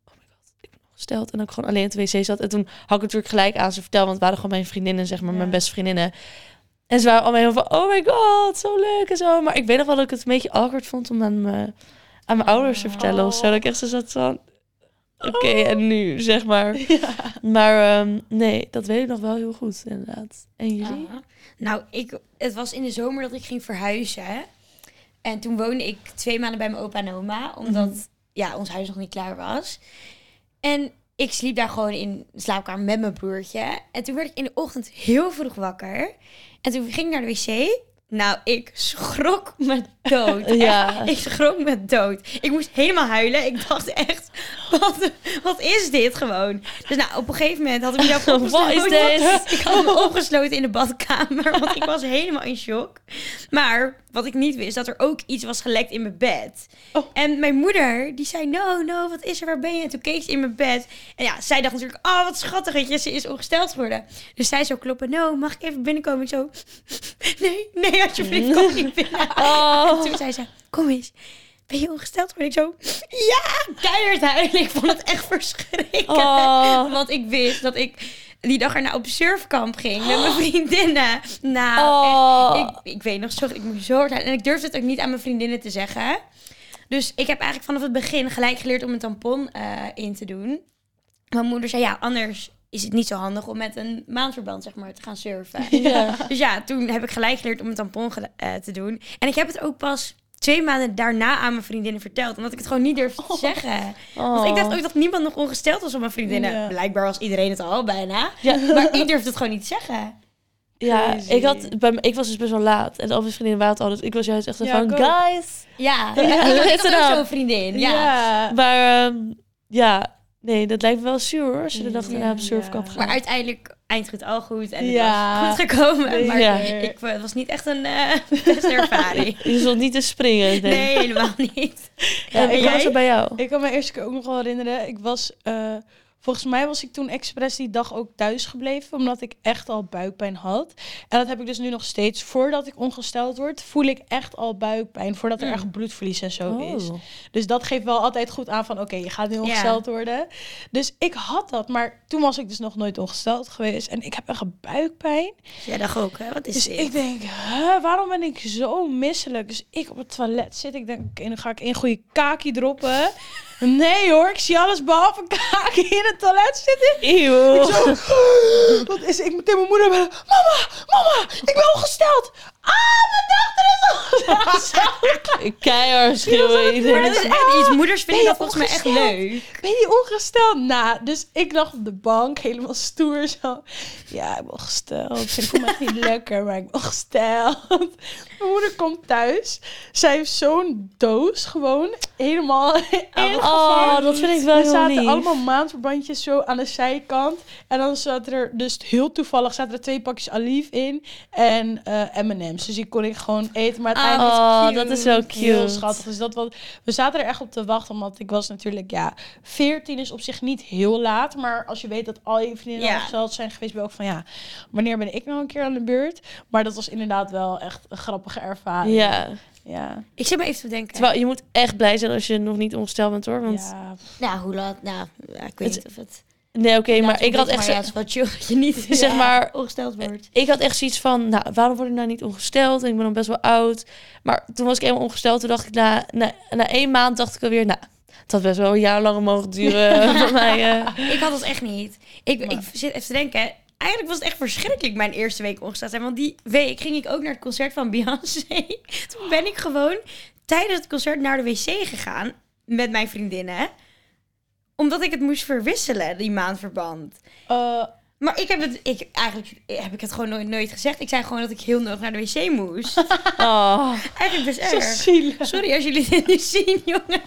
[SPEAKER 2] my god, ik ben ongesteld. En dat ik gewoon alleen op de wc zat. En toen had ik natuurlijk gelijk aan ze verteld, want het waren gewoon mijn vriendinnen, zeg maar,
[SPEAKER 4] Ja.
[SPEAKER 2] mijn beste vriendinnen. En ze waren allemaal heel van, oh my god, zo leuk en zo. Maar ik weet nog wel dat ik het een beetje awkward vond om aan mijn, aan mijn ouders te vertellen of zo. Dat ik echt zo zat van, oké, en nu, zeg maar. Maar ehm, nee, dat weet ik nog wel heel goed, inderdaad. En jullie?
[SPEAKER 1] Ja. Nou, ik, het was in de zomer dat ik ging verhuizen. En toen woonde ik twee maanden bij mijn opa en oma, omdat ja, ons huis nog niet klaar was. En ik sliep daar gewoon in de slaapkamer met mijn broertje. En toen werd ik in de ochtend heel vroeg wakker. En toen ging ik naar de wc. Nou, ik schrok me dood. Echt,
[SPEAKER 2] Eh, Ja.
[SPEAKER 1] Ik schrok me dood. Ik moest helemaal huilen. Ik dacht echt, wat, wat is dit gewoon? Dus nou, op een gegeven moment had ik mezelf
[SPEAKER 2] Wat is
[SPEAKER 1] opgesloten.
[SPEAKER 2] dit?
[SPEAKER 1] Ik had me opgesloten in de badkamer, want ik was helemaal in shock. Maar wat ik niet wist, dat er ook iets was gelekt in mijn bed.
[SPEAKER 4] Oh.
[SPEAKER 1] En mijn moeder, die zei, no, no, wat is er, waar ben je? En toen keek ze in mijn bed. En ja, zij dacht natuurlijk, oh, wat schattig, weet je, ze is ongesteld geworden. Dus zij zo kloppen, no, mag ik even binnenkomen? Ik zo, nee, nee, alsjeblieft, kom niet binnen.
[SPEAKER 2] Oh.
[SPEAKER 1] En toen zei ze, kom eens. ben je ongesteld? Ben ik zo, ja, keihard huilen. Ik vond het echt verschrikkelijk.
[SPEAKER 2] Oh.
[SPEAKER 1] Want ik wist dat ik die dag erna op surfkamp ging met mijn vriendinnen. Nou,
[SPEAKER 2] Oh.
[SPEAKER 1] echt, ik, ik weet nog, sorry, ik moest zo hard huilen. En ik durfde het ook niet aan mijn vriendinnen te zeggen. Dus ik heb eigenlijk vanaf het begin gelijk geleerd om een tampon eh, in te doen. Mijn moeder zei, ja, anders is het niet zo handig om met een maandverband zeg maar, te gaan surfen.
[SPEAKER 2] Ja.
[SPEAKER 1] Dus ja, toen heb ik gelijk geleerd om een tampon gele- eh, te doen. En ik heb het ook pas twee maanden daarna aan mijn vriendinnen verteld. Omdat ik het gewoon niet durfde te zeggen.
[SPEAKER 2] Oh.
[SPEAKER 1] Want ik dacht ook dat niemand nog ongesteld was op mijn vriendinnen.
[SPEAKER 4] Ja.
[SPEAKER 1] Blijkbaar was iedereen het al bijna.
[SPEAKER 2] Ja.
[SPEAKER 1] Maar ik durfde het gewoon niet te zeggen.
[SPEAKER 2] Ja,
[SPEAKER 4] Crazy.
[SPEAKER 2] ik, had, bij, m- ik was dus best wel laat. En al mijn vriendinnen waren het al. Dus ik was juist echt zo
[SPEAKER 4] Ja,
[SPEAKER 2] van,
[SPEAKER 4] ik ook.
[SPEAKER 2] guys.
[SPEAKER 1] Ja,
[SPEAKER 2] Ja,
[SPEAKER 1] ik had
[SPEAKER 2] let it
[SPEAKER 1] ook
[SPEAKER 2] up.
[SPEAKER 1] zo'n vriendin. Ja.
[SPEAKER 2] Maar ehm, ja, nee, dat lijkt me wel zuur hoor. Als je de dag daarna op
[SPEAKER 4] Ja.
[SPEAKER 2] surfkamp gaat.
[SPEAKER 1] Maar uiteindelijk eind goed al goed. En het
[SPEAKER 4] Ja.
[SPEAKER 1] was goed gekomen. Maar
[SPEAKER 2] Ja.
[SPEAKER 1] ik, eh, het was niet echt een eh beste ervaring.
[SPEAKER 2] Je stond niet te springen. Nee.
[SPEAKER 1] Nee, helemaal niet.
[SPEAKER 2] En
[SPEAKER 1] en
[SPEAKER 2] ik was
[SPEAKER 1] jij?
[SPEAKER 2] er bij jou.
[SPEAKER 4] Ik kan me eerst ook nog wel herinneren. Ik was, eh, volgens mij was ik toen expres die dag ook thuis gebleven, omdat ik echt al buikpijn had. En dat heb ik dus nu nog steeds. Voordat ik ongesteld word, voel ik echt al buikpijn, voordat er
[SPEAKER 1] Mm.
[SPEAKER 4] echt bloedverlies en zo is.
[SPEAKER 2] Oh.
[SPEAKER 4] Dus dat geeft wel altijd goed aan van, oké, je gaat nu ongesteld worden. Dus ik had dat, maar toen was ik dus nog nooit ongesteld geweest. En ik heb echt buikpijn.
[SPEAKER 1] Jij dacht ook, hè? Wat is
[SPEAKER 4] Dus
[SPEAKER 1] dit?
[SPEAKER 4] ik denk, huh, waarom ben ik zo misselijk? Dus ik op het toilet zit. Ik denk, oké, dan ga ik een goede kaki droppen. Nee hoor, ik zie alles behalve een kaki in het toilet zitten.
[SPEAKER 2] Eeuw.
[SPEAKER 4] Ik zo, wat is Ik moet tegen mijn moeder bellen. Mama, mama, ik ben ongesteld. Ah, mijn dochter is ongesteld.
[SPEAKER 2] Keihard schreeuwen.
[SPEAKER 1] maar
[SPEAKER 2] iedereen.
[SPEAKER 1] dat is echt iets. Moeders vinden
[SPEAKER 4] Ben
[SPEAKER 1] dat
[SPEAKER 4] je
[SPEAKER 1] volgens mij echt
[SPEAKER 4] ongesteld?
[SPEAKER 1] leuk.
[SPEAKER 4] ben je ongesteld? Nou, dus ik lag op de bank, helemaal stoer zo. Ja, ik ben ongesteld. Ik vind het echt niet lekker, maar ik ben ongesteld. Mijn moeder komt thuis. Zij heeft zo'n doos gewoon helemaal ingevouwen.
[SPEAKER 2] Oh, dat vind ik wel
[SPEAKER 4] Er
[SPEAKER 2] heel
[SPEAKER 4] zaten
[SPEAKER 2] lief.
[SPEAKER 4] allemaal maandverbandjes zo aan de zijkant. En dan zaten er dus heel toevallig zaten er twee pakjes Alif in en eh, M&M's. Dus die kon ik gewoon eten. Maar uiteindelijk
[SPEAKER 2] Oh,
[SPEAKER 4] was het
[SPEAKER 2] dat is wel
[SPEAKER 4] Heel
[SPEAKER 2] cute.
[SPEAKER 4] schattig. Dus dat was, we zaten er echt op te wachten. Omdat ik was natuurlijk, ja, 14 is op zich niet heel laat. Maar als je weet dat al je vriendinnen
[SPEAKER 1] Ja.
[SPEAKER 4] ja. zijn geweest, ben je ook van ja, wanneer ben ik nou een keer aan de beurt? Maar dat was inderdaad wel echt een grappige ervaring.
[SPEAKER 2] Ja.
[SPEAKER 4] Ja.
[SPEAKER 1] Ik zit me even te denken.
[SPEAKER 2] Terwijl je moet echt blij zijn als je nog niet ongesteld bent hoor. Want...
[SPEAKER 4] ja.
[SPEAKER 1] Nou, hoe laat? Nou, ja, ik weet
[SPEAKER 2] Het-
[SPEAKER 1] niet of het...
[SPEAKER 2] Nee, oké, maar ik had echt
[SPEAKER 1] Maar ja,
[SPEAKER 2] zo-
[SPEAKER 1] het is wel chill dat je niet
[SPEAKER 2] Zeg
[SPEAKER 1] ja,
[SPEAKER 2] maar-
[SPEAKER 1] ongesteld wordt.
[SPEAKER 2] ik had echt zoiets van, nou, waarom word ik nou niet ongesteld? En ik ben dan best wel oud. Maar toen was ik eenmaal ongesteld. Toen dacht ik, na, na, na één maand dacht ik alweer, nou, het had best wel een jaar langer mogen duren voor mij. eh.
[SPEAKER 1] Ik had dat echt niet. Ik, ik
[SPEAKER 4] Maar-
[SPEAKER 1] zit even te denken. Eigenlijk was het echt verschrikkelijk mijn eerste week ongesteld zijn. Want die week ging ik ook naar het concert van Beyoncé. Toen ben ik gewoon tijdens het concert naar de wc gegaan met mijn vriendinnen. Omdat ik het moest verwisselen, die maandverband.
[SPEAKER 4] Eh,
[SPEAKER 1] Maar ik heb het, ik, eigenlijk heb ik het gewoon nooit, nooit gezegd. Ik zei gewoon dat ik heel nodig naar de wc moest.
[SPEAKER 2] Oh,
[SPEAKER 1] Eigenlijk best
[SPEAKER 4] zo
[SPEAKER 1] erg.
[SPEAKER 4] zielig.
[SPEAKER 1] Sorry als jullie dit nu zien, jongen.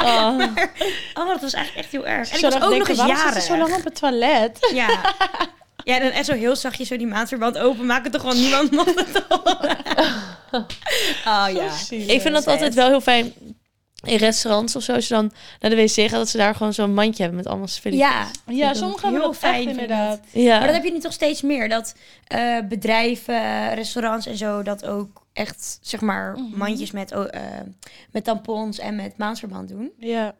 [SPEAKER 2] oh.
[SPEAKER 1] Maar, oh, dat was eigenlijk echt heel erg. En ik
[SPEAKER 4] Zo
[SPEAKER 1] was
[SPEAKER 4] dacht
[SPEAKER 1] ook
[SPEAKER 4] ik,
[SPEAKER 1] nog eens
[SPEAKER 4] waarom zit
[SPEAKER 1] jaren.
[SPEAKER 4] ze zo lang op het toilet?
[SPEAKER 1] Ja. Ja, en dan echt zo heel zachtjes zo die maandverband openmaken. Toch gewoon niemand mocht het horen. Oh ja.
[SPEAKER 2] Ik vind dat
[SPEAKER 1] Zet.
[SPEAKER 2] altijd wel heel fijn in restaurants of zo. Als je dan naar de wc gaat, dat ze daar gewoon zo'n mandje hebben met allemaal spullen.
[SPEAKER 1] Ja,
[SPEAKER 4] Ja, sommigen hebben
[SPEAKER 1] heel
[SPEAKER 4] dat fijn,
[SPEAKER 1] fijn, vind ik
[SPEAKER 4] inderdaad.
[SPEAKER 1] maar dat heb je nu toch steeds meer. Dat eh, bedrijven, restaurants en zo, dat ook echt, zeg maar,
[SPEAKER 4] Mhm.
[SPEAKER 1] mandjes met, oh, eh, met tampons en met maandverband doen.
[SPEAKER 4] Ja.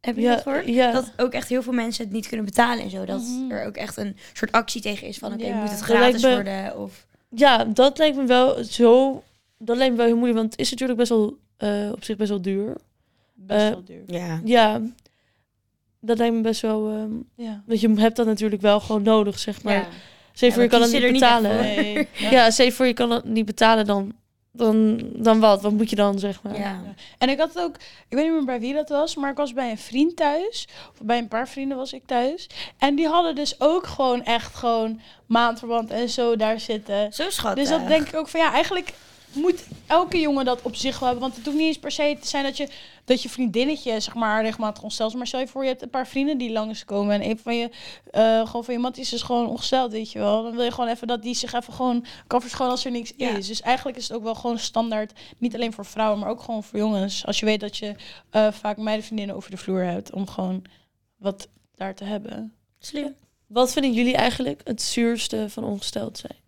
[SPEAKER 1] Heb je
[SPEAKER 2] Ja,
[SPEAKER 1] dat gehoord?
[SPEAKER 2] ja.
[SPEAKER 1] Dat ook echt heel veel mensen het niet kunnen betalen en zo. Dat
[SPEAKER 4] Mhm.
[SPEAKER 1] er ook echt een soort actie tegen is van, oké,
[SPEAKER 4] Ja.
[SPEAKER 1] moet het
[SPEAKER 2] Dat lijkt
[SPEAKER 1] gratis
[SPEAKER 2] me-
[SPEAKER 1] worden? Of...
[SPEAKER 2] Ja, dat lijkt me wel zo. Dat lijkt me wel heel moeilijk, want het is natuurlijk best wel eh, op zich best wel duur.
[SPEAKER 4] Best
[SPEAKER 2] Eh,
[SPEAKER 4] wel duur.
[SPEAKER 1] Ja.
[SPEAKER 2] Ja, dat lijkt me best wel. ehm,
[SPEAKER 4] Ja.
[SPEAKER 2] want je hebt dat natuurlijk wel gewoon nodig, zeg maar.
[SPEAKER 1] ja.
[SPEAKER 2] Zeker
[SPEAKER 1] Ja,
[SPEAKER 2] voor
[SPEAKER 1] we
[SPEAKER 2] je kan het
[SPEAKER 1] kiezen
[SPEAKER 2] niet
[SPEAKER 1] er niet echt
[SPEAKER 2] betalen.
[SPEAKER 1] voor.
[SPEAKER 4] Nee.
[SPEAKER 2] Ja, zeker voor je kan het niet betalen, dan, dan, dan wat? Wat moet je dan, zeg maar?
[SPEAKER 1] Ja.
[SPEAKER 4] En ik had het ook, ik weet niet meer bij wie dat was, maar ik was bij een vriend thuis. Of bij een paar vrienden was ik thuis. En die hadden dus ook gewoon echt gewoon maandverband en zo daar zitten.
[SPEAKER 1] Zo eh. schattig.
[SPEAKER 4] Dus dat denk ik ook van ja, eigenlijk moet elke jongen dat op zich wel hebben. Want het hoeft niet eens per se te zijn dat je, dat je vriendinnetje, zeg maar, regelmatig ongesteld is. Maar stel je voor, je hebt een paar vrienden die langskomen. En een van je, eh, gewoon van je mat is dus gewoon ongesteld, weet je wel. Dan wil je gewoon even dat die zich even gewoon kan verschonen als er niks
[SPEAKER 1] Ja.
[SPEAKER 4] is. Dus eigenlijk is het ook wel gewoon standaard, niet alleen voor vrouwen, maar ook gewoon voor jongens. Als je weet dat je eh, vaak meidenvriendinnen over de vloer hebt, om gewoon wat daar te hebben.
[SPEAKER 1] Slim.
[SPEAKER 2] Wat vinden jullie eigenlijk het zuurste van ongesteld zijn?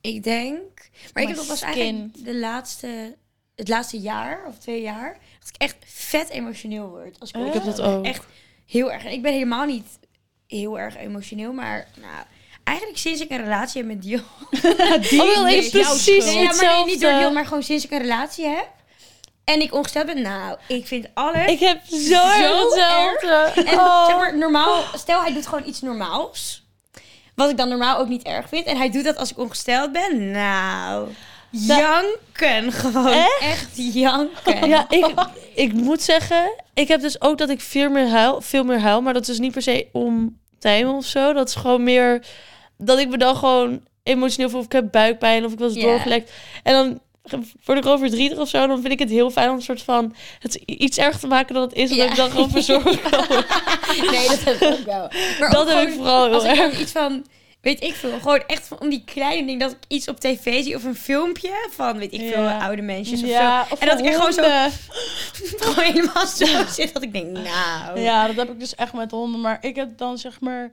[SPEAKER 1] Ik denk. Maar ik
[SPEAKER 4] Mijn
[SPEAKER 1] heb dat was
[SPEAKER 4] skin.
[SPEAKER 1] eigenlijk de laatste het laatste jaar of twee jaar, dat ik echt vet emotioneel word. Als ik,
[SPEAKER 4] Oh.
[SPEAKER 2] Ik heb dat ook.
[SPEAKER 1] Echt heel erg. En ik ben helemaal niet heel erg emotioneel, maar nou, eigenlijk sinds ik een relatie heb met Dion.
[SPEAKER 4] Die
[SPEAKER 2] Oh, wel,
[SPEAKER 4] is
[SPEAKER 2] even
[SPEAKER 4] jouw
[SPEAKER 2] precies.
[SPEAKER 4] schuld.
[SPEAKER 1] Nee, ja, maar nee, niet door
[SPEAKER 2] hetzelfde.
[SPEAKER 1] Dion, maar gewoon sinds ik een relatie heb. En ik ongesteld ben, nou, ik vind alles.
[SPEAKER 2] Ik heb zo erg
[SPEAKER 1] Zo
[SPEAKER 2] hetzelfde.
[SPEAKER 1] En
[SPEAKER 2] Oh.
[SPEAKER 1] zeg maar, normaal, stel hij doet gewoon iets normaals. Wat ik dan normaal ook niet erg vind. En hij doet dat als ik ongesteld ben. Nou, janken gewoon. Echt,
[SPEAKER 2] Echt?
[SPEAKER 1] janken.
[SPEAKER 2] Ja, ik, ik moet zeggen, ik heb dus ook dat ik veel meer huil, veel meer huil maar dat is dus niet per se om tijmen of zo. Dat is gewoon meer dat ik me dan gewoon emotioneel voel of ik heb buikpijn of ik was
[SPEAKER 1] Ja.
[SPEAKER 2] doorgelekt. En dan word ik gewoon verdrietig of zo. Dan vind ik het heel fijn om een soort van het iets erger te maken dan het is, omdat
[SPEAKER 1] Ja.
[SPEAKER 2] ik dan gewoon verzorgd kan.
[SPEAKER 1] Nee, dat heb ik ook wel. Maar
[SPEAKER 2] Dat
[SPEAKER 1] ook
[SPEAKER 2] heb ik
[SPEAKER 1] gewoon
[SPEAKER 2] vooral
[SPEAKER 1] Als
[SPEAKER 2] heel
[SPEAKER 1] ik
[SPEAKER 2] erg.
[SPEAKER 1] dan iets van, weet ik veel, gewoon echt van om die kleine ding dat ik iets op tv zie of een filmpje van, weet ik veel,
[SPEAKER 4] Ja.
[SPEAKER 1] oude mensen of
[SPEAKER 4] Ja, of
[SPEAKER 1] En dat ik echt gewoon zo-
[SPEAKER 4] honden.
[SPEAKER 1] zo. Gewoon helemaal zo zit dat ik denk, nou.
[SPEAKER 4] Ja, dat heb ik dus echt met honden. Maar ik heb dan zeg maar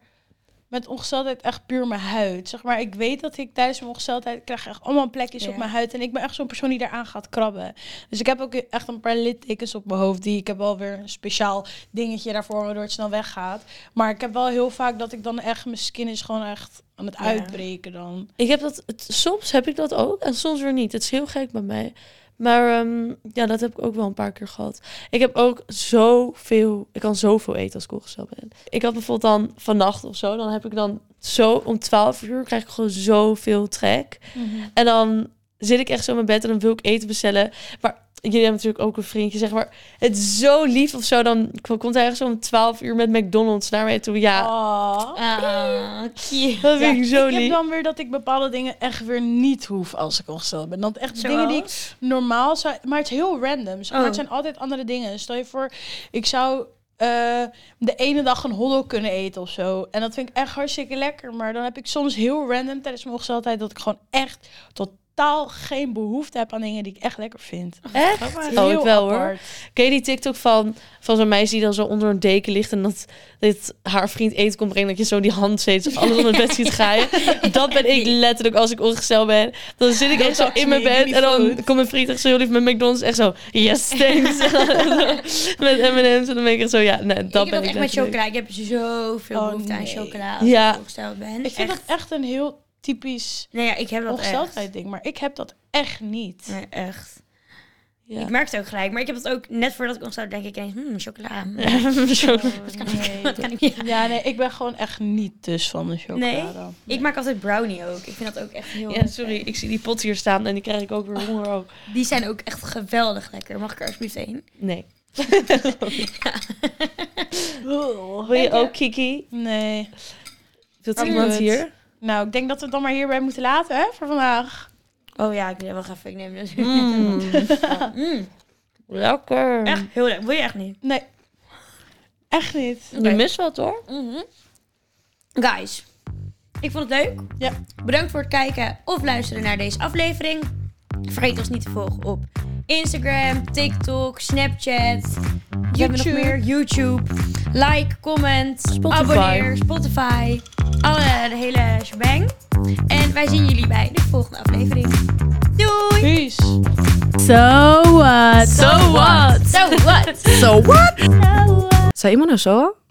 [SPEAKER 4] met ongesteldheid echt puur mijn huid. Zeg maar, ik weet dat ik tijdens mijn ongesteldheid krijg echt allemaal plekjes
[SPEAKER 1] Ja.
[SPEAKER 4] op mijn huid. En ik ben echt zo'n persoon die daaraan gaat krabben. Dus ik heb ook echt een paar littekens op mijn hoofd. Die ik heb wel weer een speciaal dingetje daarvoor, waardoor het snel weggaat. Maar ik heb wel heel vaak dat ik dan echt, mijn skin is gewoon echt aan het
[SPEAKER 1] Ja.
[SPEAKER 4] uitbreken dan.
[SPEAKER 2] Ik heb dat, het- soms heb ik dat ook en soms weer niet. Het is heel gek bij mij. Maar ehm, ja, dat heb ik ook wel een paar keer gehad. Ik heb ook zoveel, ik kan zoveel eten als ik ongesteld ben. Ik had bijvoorbeeld dan vannacht of zo, dan heb ik dan zo om 12 uur krijg ik gewoon zoveel trek.
[SPEAKER 4] Mhm.
[SPEAKER 2] En dan zit ik echt zo in mijn bed en dan wil ik eten bestellen. Maar jullie hebben natuurlijk ook een vriendje, zeg maar. Het is zo lief of zo, dan komt hij echt zo om 12 uur met McDonald's naar mij toe. Ja,
[SPEAKER 4] Ah.
[SPEAKER 1] Ah, cute.
[SPEAKER 2] dat
[SPEAKER 4] Ja,
[SPEAKER 2] vind ik zo
[SPEAKER 4] ik heb
[SPEAKER 2] lief.
[SPEAKER 4] dan weer dat ik bepaalde dingen echt weer niet hoef als ik ongesteld ben. Dan echt dingen die ik
[SPEAKER 1] Zoals?
[SPEAKER 4] normaal zou... Maar het is heel random. Zeg maar
[SPEAKER 1] Oh.
[SPEAKER 4] Het zijn altijd andere dingen. Stel je voor, ik zou eh, de ene dag een hoddel kunnen eten of zo. En dat vind ik echt hartstikke lekker. Maar dan heb ik soms heel random tijdens mijn ongesteldheid... dat ik gewoon echt totaal geen behoefte heb aan dingen die ik echt lekker vind.
[SPEAKER 2] Echt? Oh, ik
[SPEAKER 4] Heel
[SPEAKER 2] wel hoor.
[SPEAKER 4] apart.
[SPEAKER 2] Ken je die TikTok van, van zo'n meisje die dan zo onder een deken ligt en dat, dat haar vriend eten komt brengen, dat je zo die hand steeds alles onder het bed ziet gaan? Dat ben ik letterlijk als ik ongesteld ben. Dan zit ik echt zo
[SPEAKER 4] touch
[SPEAKER 2] in mijn
[SPEAKER 4] me,
[SPEAKER 2] bed
[SPEAKER 4] niet
[SPEAKER 2] en dan
[SPEAKER 4] goed.
[SPEAKER 2] komt mijn vriend echt zo heel lief met McDonald's echt zo, yes thanks. En dan zo met M&M's en dan ben ik echt zo, ja, nee, dat
[SPEAKER 1] ik
[SPEAKER 2] ben
[SPEAKER 1] heb dat echt met
[SPEAKER 2] ik letterlijk.
[SPEAKER 1] chocola. Ik heb zoveel
[SPEAKER 4] Oh,
[SPEAKER 1] behoefte aan
[SPEAKER 4] nee.
[SPEAKER 1] chocola als
[SPEAKER 2] Ja.
[SPEAKER 1] ik ongesteld ben.
[SPEAKER 2] Hm,
[SPEAKER 4] Ik vind dat echt een heel typisch
[SPEAKER 1] Nee, ja, ik heb dat echt.
[SPEAKER 4] ongesteldheid ding. Maar ik heb dat echt niet.
[SPEAKER 1] Nee, echt. Ik
[SPEAKER 2] Ja.
[SPEAKER 1] merk het ook gelijk. Maar ik heb dat ook net voordat ik ongesteld ben, denk ik ineens, hmm, chocola. Hmm,
[SPEAKER 2] Chocola.
[SPEAKER 1] Wat kan
[SPEAKER 4] Nee.
[SPEAKER 1] ik, wat kan ik niet
[SPEAKER 4] Ja, nee, ik ben gewoon echt niet dus van de
[SPEAKER 1] Nee?
[SPEAKER 4] chocolade. Nee?
[SPEAKER 1] Ik maak altijd brownie ook. Ik vind dat ook echt heel
[SPEAKER 2] Ja, sorry, ik zie die pot hier staan en die krijg ik ook weer honger ook.
[SPEAKER 1] Die zijn ook echt geweldig lekker. Mag ik er alsjeblieft één?
[SPEAKER 2] Nee. Wil je ook, Oh, Kiki?
[SPEAKER 4] Nee.
[SPEAKER 2] Wilt
[SPEAKER 4] Oh,
[SPEAKER 2] iemand
[SPEAKER 4] kut.
[SPEAKER 2] hier?
[SPEAKER 4] Nou, ik denk dat we het dan maar hierbij moeten laten hè, voor vandaag.
[SPEAKER 1] Oh ja, ik neem wel even. Ik neem dus.
[SPEAKER 2] Mm,
[SPEAKER 1] Mm,
[SPEAKER 2] lekker.
[SPEAKER 1] echt heel lekker. Wil je echt niet?
[SPEAKER 4] Nee. Echt niet.
[SPEAKER 1] Oké.
[SPEAKER 2] Je mist wat hoor.
[SPEAKER 1] Mhm. Guys, ik vond het leuk.
[SPEAKER 4] Ja.
[SPEAKER 1] Bedankt voor het kijken of luisteren naar deze aflevering. Vergeet ons niet te volgen op Instagram, TikTok, Snapchat. Wat hebben we nog
[SPEAKER 4] YouTube.
[SPEAKER 1] meer? YouTube. Like, comment,
[SPEAKER 2] Spotify.
[SPEAKER 1] abonneer, Spotify. Alle, de hele shebang. En wij zien jullie bij de volgende aflevering. Doei!
[SPEAKER 4] Peace.
[SPEAKER 5] So what?
[SPEAKER 2] So what?
[SPEAKER 1] So what?
[SPEAKER 5] So what? Sa imo na so?